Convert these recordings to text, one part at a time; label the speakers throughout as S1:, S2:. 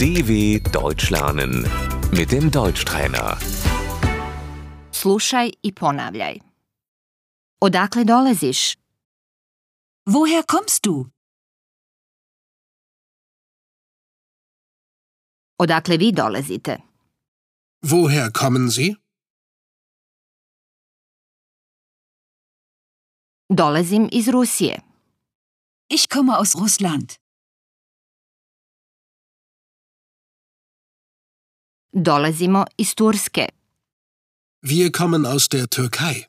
S1: DW Deutsch lernen mit dem Deutschtrainer.
S2: Slušaj i ponavljaj. Odakle dolaziš? Woher kommst du? Odakle vi dolazite?
S3: Woher kommen Sie?
S2: Dolazim iz Rusije.
S4: Ich komme aus Russland.
S2: Dolazimo iz Turske.
S3: Wir kommen aus der Türkei.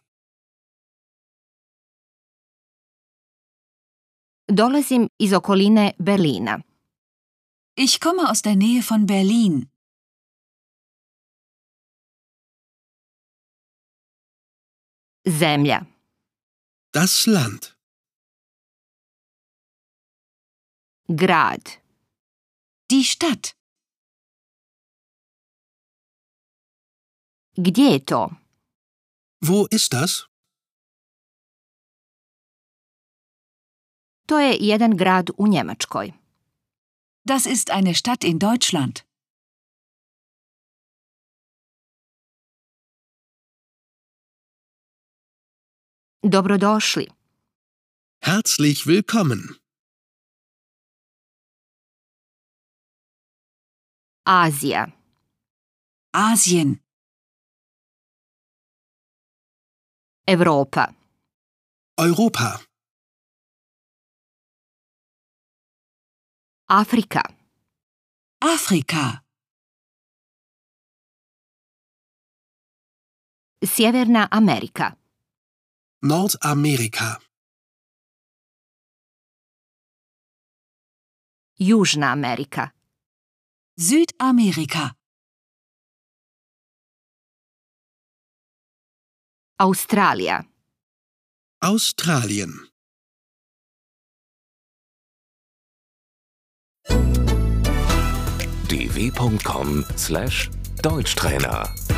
S2: Dolazim iz okoline Berlina.
S4: Ich komme aus der Nähe von Berlin.
S2: Zemlja.
S3: Das Land.
S2: Grad.
S4: Die Stadt.
S2: Gdje je to?
S3: Wo ist das?
S2: To je jedan grad u Njemačkoj.
S4: Das ist eine Stadt in Deutschland.
S2: Dobrodošli.
S3: Herzlich willkommen.
S2: Azija.
S4: Asien.
S2: Europa.
S3: Europa.
S2: Afrika.
S4: Afrika.
S2: Sjeverna Amerika.
S3: Nordamerika.
S2: Južna Amerika.
S4: Südamerika.
S2: Australija.
S3: Australien.
S1: dw.com/deutschtrainer